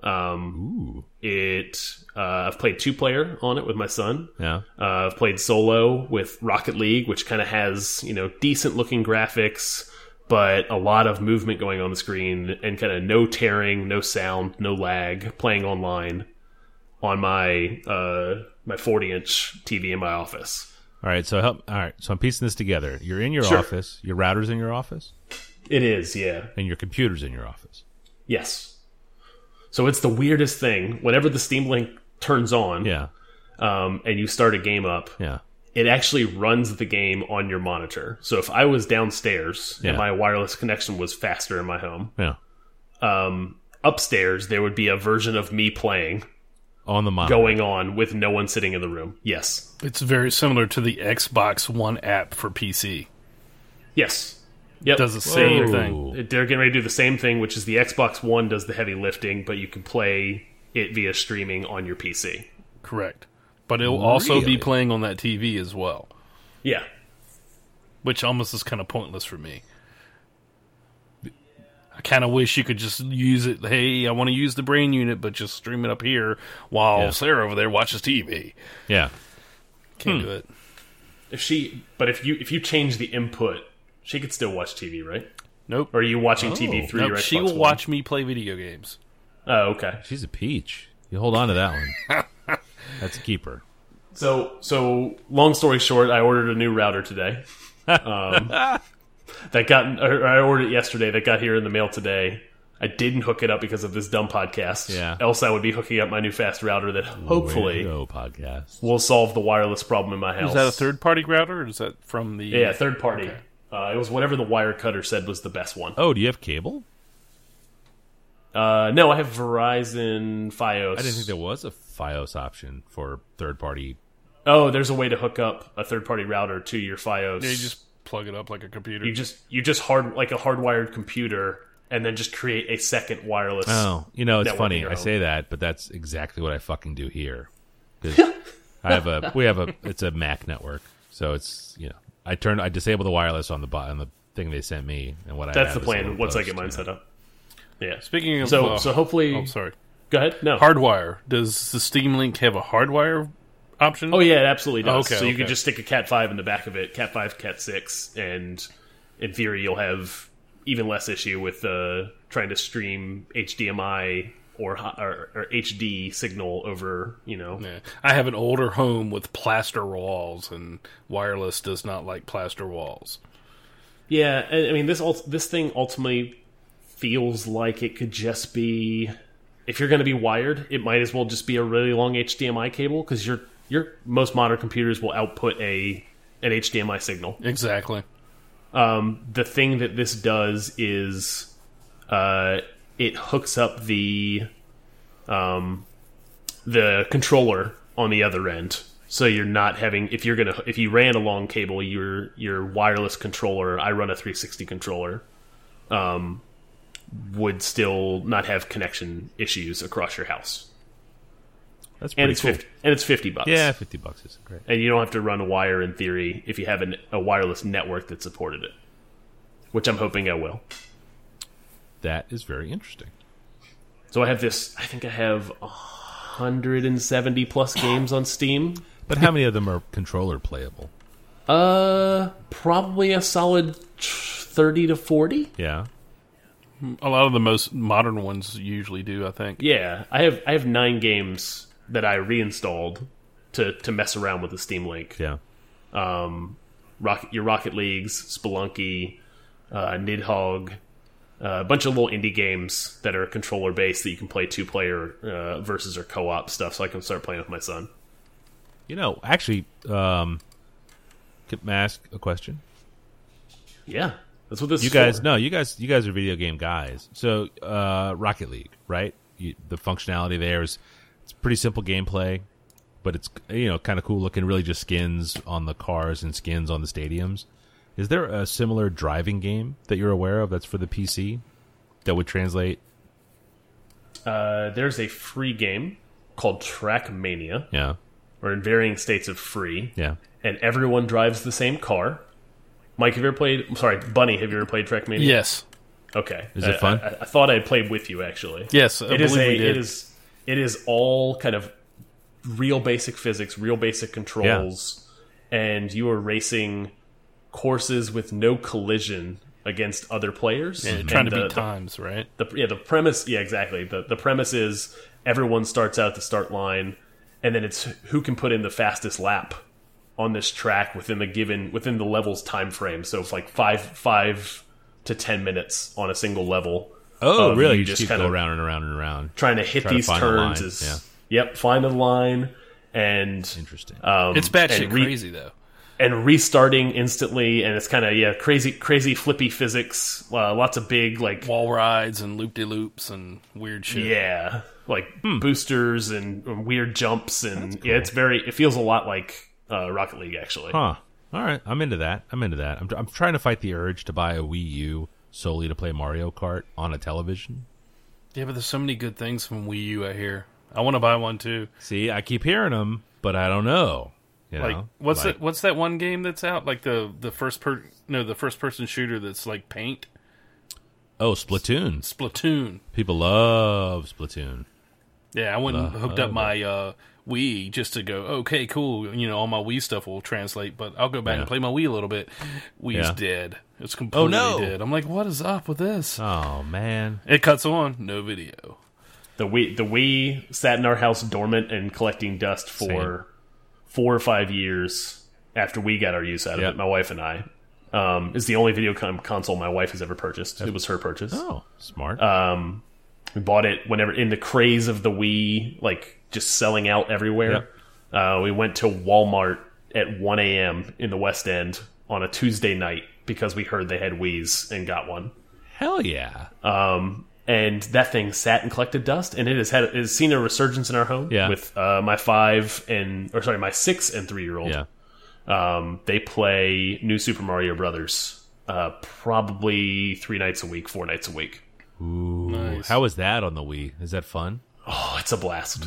Um, Ooh. it uh, I've played two player on it with my son. Yeah. Uh, I've played solo with Rocket League, which kind of has you know decent looking graphics, but a lot of movement going on the screen and kind of no tearing, no sound, no lag. Playing online on my uh, my 40 inch TV in my office. All right. So help. All right. So I'm piecing this together. You're in your Sure. office. Your router's in your office, It is, yeah. and your computer's in your office. Yes. So it's the weirdest thing. Whenever the Steam Link turns on Yeah. um, and you start a game up, Yeah. it actually runs the game on your monitor. So if I was downstairs Yeah. and my wireless connection was faster in my home, Yeah. um, upstairs there would be a version of me playing On the monitor. going on with no one sitting in the room. Yes. It's very similar to the Xbox One app for PC. Yes. Yep. Does the same Whoa. thing. They're getting ready to do the same thing, which is the Xbox One does the heavy lifting, but you can play it via streaming on your PC. Correct. But it'll also Really? be playing on that TV as well, Yeah. which almost is kind of pointless for me. I kind of wish you could just use it. Hey, I want to use the brain unit, but just stream it up here while Yeah. Sarah over there watches Hmm. TV. Yeah. Can't do it. If she, but if you if you change the input, she could still watch TV, right? Nope. Or are you watching TV through Oh. nope. your Xbox She will One? watch me play video games. Oh, okay. She's a peach. You hold on to that one. (laughs) That's a keeper. So, so long story short, I ordered a new router today. Um, that got or I ordered it yesterday. That got here in the mail today. I didn't hook it up because of this dumb podcast. Yeah. Else, I would be hooking up my new fast router that hopefully Weirdo podcast. will solve the wireless problem in my house. Is that a third party router or is that from the. Yeah, third party. Uh, it was whatever the wire cutter said was the best one. Oh, do you have cable? Uh, no, I have Verizon FiOS. I didn't think there was a FiOS option for third party. Oh, there's a way to hook up a third party router to your FiOS. You just plug it up like a computer. you just you just hard like a hardwired computer and then just create a second wireless Oh, you know, it's Network funny. Hero. I say that, but that's exactly what I fucking do here. (laughs) 'Cause I have a we have a it's a Mac network, so it's you know I turn I disable the wireless on the bot on the thing they sent me, and what I that's have the is a plan little once i post, get mine you know. set up yeah Speaking of. so uh, so hopefully oh, sorry. go ahead no Hardwire. Does the Steam Link have a hardwire option? oh yeah it absolutely does Okay, so you okay. can just stick a cat 5 in the back of it cat 5 cat 6 and in theory you'll have even less issue with uh, trying to stream hdmi or, hi- or or hd signal over you know Yeah. I have an older home with plaster walls, and wireless does not like plaster walls. Yeah, I I mean this ult this thing ultimately feels like it could just be if you're going to be wired, it might as well just be a really long HDMI cable because your your most modern computers will output a an HDMI signal. Exactly. Um, the thing that this does is uh, it hooks up the um, the controller on the other end. So you're not having if you're gonna if you ran a long cable, your your wireless controller. I run a 360 controller. Um, would still not have connection issues across your house, That's and pretty it's cool. 50, and it's fifty bucks. Yeah, fifty bucks is great. and you don't have to run a wire in theory if you have an, a wireless network that supported it, which I'm hoping I will. That is very interesting. So I have this. I think I have 170 plus games on Steam. But how many of them are controller playable? Uh, probably a solid 30 to 40. Yeah, A lot of the most modern ones usually do, I think. Yeah, I have I have nine games that I reinstalled to to mess around with the Steam Link. yeah. Rocket, your Rocket Leagues, Spelunky, uh, Nidhogg, uh, a bunch of little indie games that are controller based that you can play two player uh, versus or co op stuff. So I can start playing with my son. You know, actually, um, can I ask a question? Yeah, that's what this. You is guys, for. no, you guys, you guys are video game guys. So, uh, Rocket League, right? You, the functionality there is it's pretty simple gameplay, but it's you know kind of cool looking. Really, just skins on the cars and skins on the stadiums. Is there a similar driving game that you're aware of that's for the PC that would translate Uh, there's a free game called Trackmania. Yeah. We're in varying states of free, Yeah. and everyone drives the same car. Mike, have you ever played? I'm sorry, Bunny, have you ever played Trackmania? Yes. Okay. Is it I- fun? I, I, thought I played with you actually. Yes, I it is believe a. we did. It is. It is all kind of real basic physics, real basic controls, and you are racing courses with no collision against other players. And trying to uh, the- beat times, right? the yeah the premise yeah exactly the the premise is everyone starts out at the start line and then it's who can put in the fastest lap on this track within the given within the level's time frame so it's like five five to ten minutes on a single level Oh, Um, really? you You just just keep go kinda- around and around and around. trying to hit Try to these find the turns line, is yep find a line and Interesting. um, It's batshit and re- crazy though. and restarting instantly and it's kind of yeah crazy crazy flippy physics uh, lots of big like Wall rides and loop de loops and weird shit. Yeah, like Hmm. boosters and and weird jumps, and yeah, it's very. It feels a lot like uh, Rocket League, actually. Huh. All right. I'm into that. I'm into that. I'm, tr- I'm trying to fight the urge to buy a Wii U solely to play Mario Kart on a television. Yeah, but there's so many good things from Wii U. I hear. I want to buy one too. See, I keep hearing them, but I don't know. You Like know? what's Like, that? What's that one game that's out? Like the the first per no the first person shooter that's like paint Oh, Splatoon. Splatoon. People love Splatoon. Yeah, I went and hooked oh. up my uh, Wii just to go. Okay, cool. You know, all my Wii stuff will translate, but I'll go back Yeah. and play my Wii a little bit. Wii's Yeah. Oh, dead. It's completely no. dead. I'm like, what is up with this? Oh man. It cuts on. No video. The Wii, the Wii sat in our house dormant and collecting dust for four or five years after we got our use out of Yeah. it. My wife and I um, is the only video con console my wife has ever purchased. It was her purchase. Oh, smart. We bought it whenever in the craze of the Wii, like just selling out everywhere. Uh, we went to Walmart at 1 a.m. in the West End on a Tuesday night because we heard they had Wii's and got one. Hell yeah. Um, and that thing sat and collected dust, and it has had it has seen a resurgence in our home Yeah. with uh, my five and or sorry, my six and three year old. yeah. Um, they play New Super Mario Brothers uh, probably three nights a week, four nights a week. Ooh. How was that on the Wii? Is that fun? Oh, it's a blast.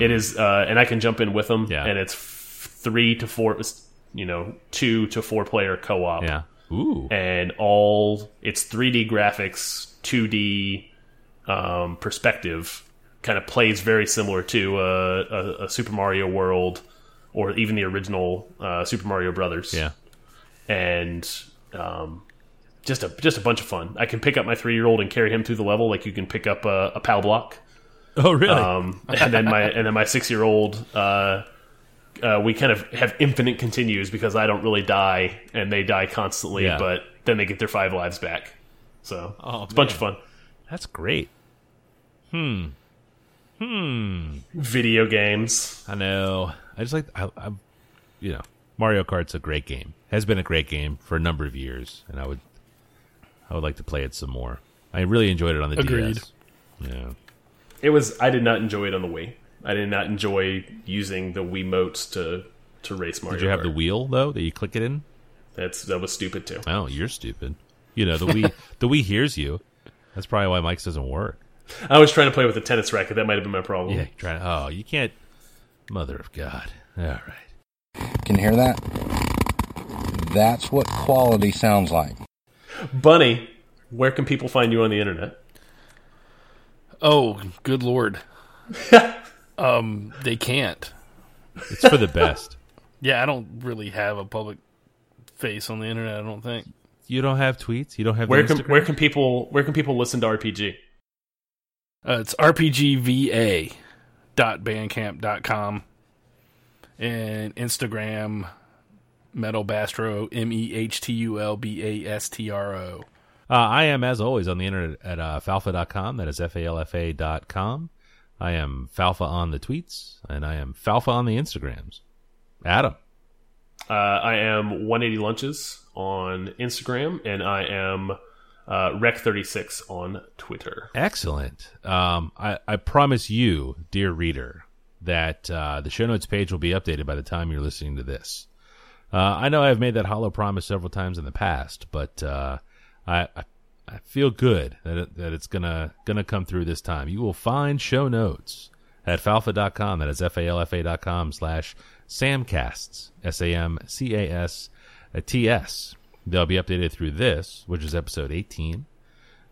It is, uh, and I can jump in with them. Mm. Yeah. And it's f- three to four, it's, you know, two to four player co op. Yeah. Ooh. And all, it's 3D graphics, 2D um, perspective, kind of plays very similar to uh, a, a Super Mario World or even the original uh, Super Mario Brothers Yeah. and um, just a just a bunch of fun. I can pick up my three year old and carry him through the level like you can pick up a, a pal block. Oh really? Um, and then my and then my six year old, uh, uh, we kind of have infinite continues because I don't really die and they die constantly, Yeah. but then they get their five lives back. So Oh, it's a bunch of fun. That's great. Video games. I know. I just like I, I you know, Mario Kart's a great game. Has been a great game for a number of years, and I would I would like to play it some more. I really enjoyed it on the Agreed. DS. Yeah. It was I did not enjoy it on the Wii. I did not enjoy using the Wii motes to to race Mario. Did you have the Kart. wheel though that you click it in? That's that was stupid too. Oh, you're stupid. You know, (laughs) the Wii the Wii hears you. That's probably why Mike's doesn't work. I was trying to play with a tennis racket. That might have been my problem. Yeah, trying to, oh, you can't Mother of God. All right. Can you hear that? That's what quality sounds like. Bunny, where can people find you on the internet? Oh, good lord. (laughs) um, they can't. It's for the (laughs) best. Yeah, I don't really have a public face on the internet. I don't think. You don't have tweets? You don't have Where can Instagram? where can people where can people listen to RPG? Uh, it's rpgva.bandcamp.com and Instagram Metal Bastro M E H T U L B A S T R O. Uh, I am, as always, on the internet at uh, falfa.com. That is F A L F A dot com. I am Falfa on the tweets, and I am Falfa on the Instagrams. Adam. Uh, I am 180 lunches on Instagram, and I am uh, rec36 on Twitter. Excellent. Um, I, I promise you, dear reader, that uh, the show notes page will be updated by the time you're listening to this. Uh, I know I've made that hollow promise several times in the past, but uh, I, I I feel good that it, that it's gonna gonna come through this time. You will find show notes at falfa.com. That is f a l f a dot com slash samcasts s a m c a s t s. They'll be updated through this, which is episode eighteen.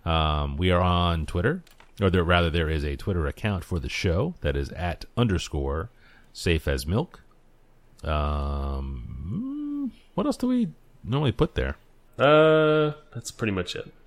Um, we are on Twitter, or there, rather, there is a Twitter account for the show that is at underscore safe as milk. Um, what else do we normally put there? Uh, that's pretty much it.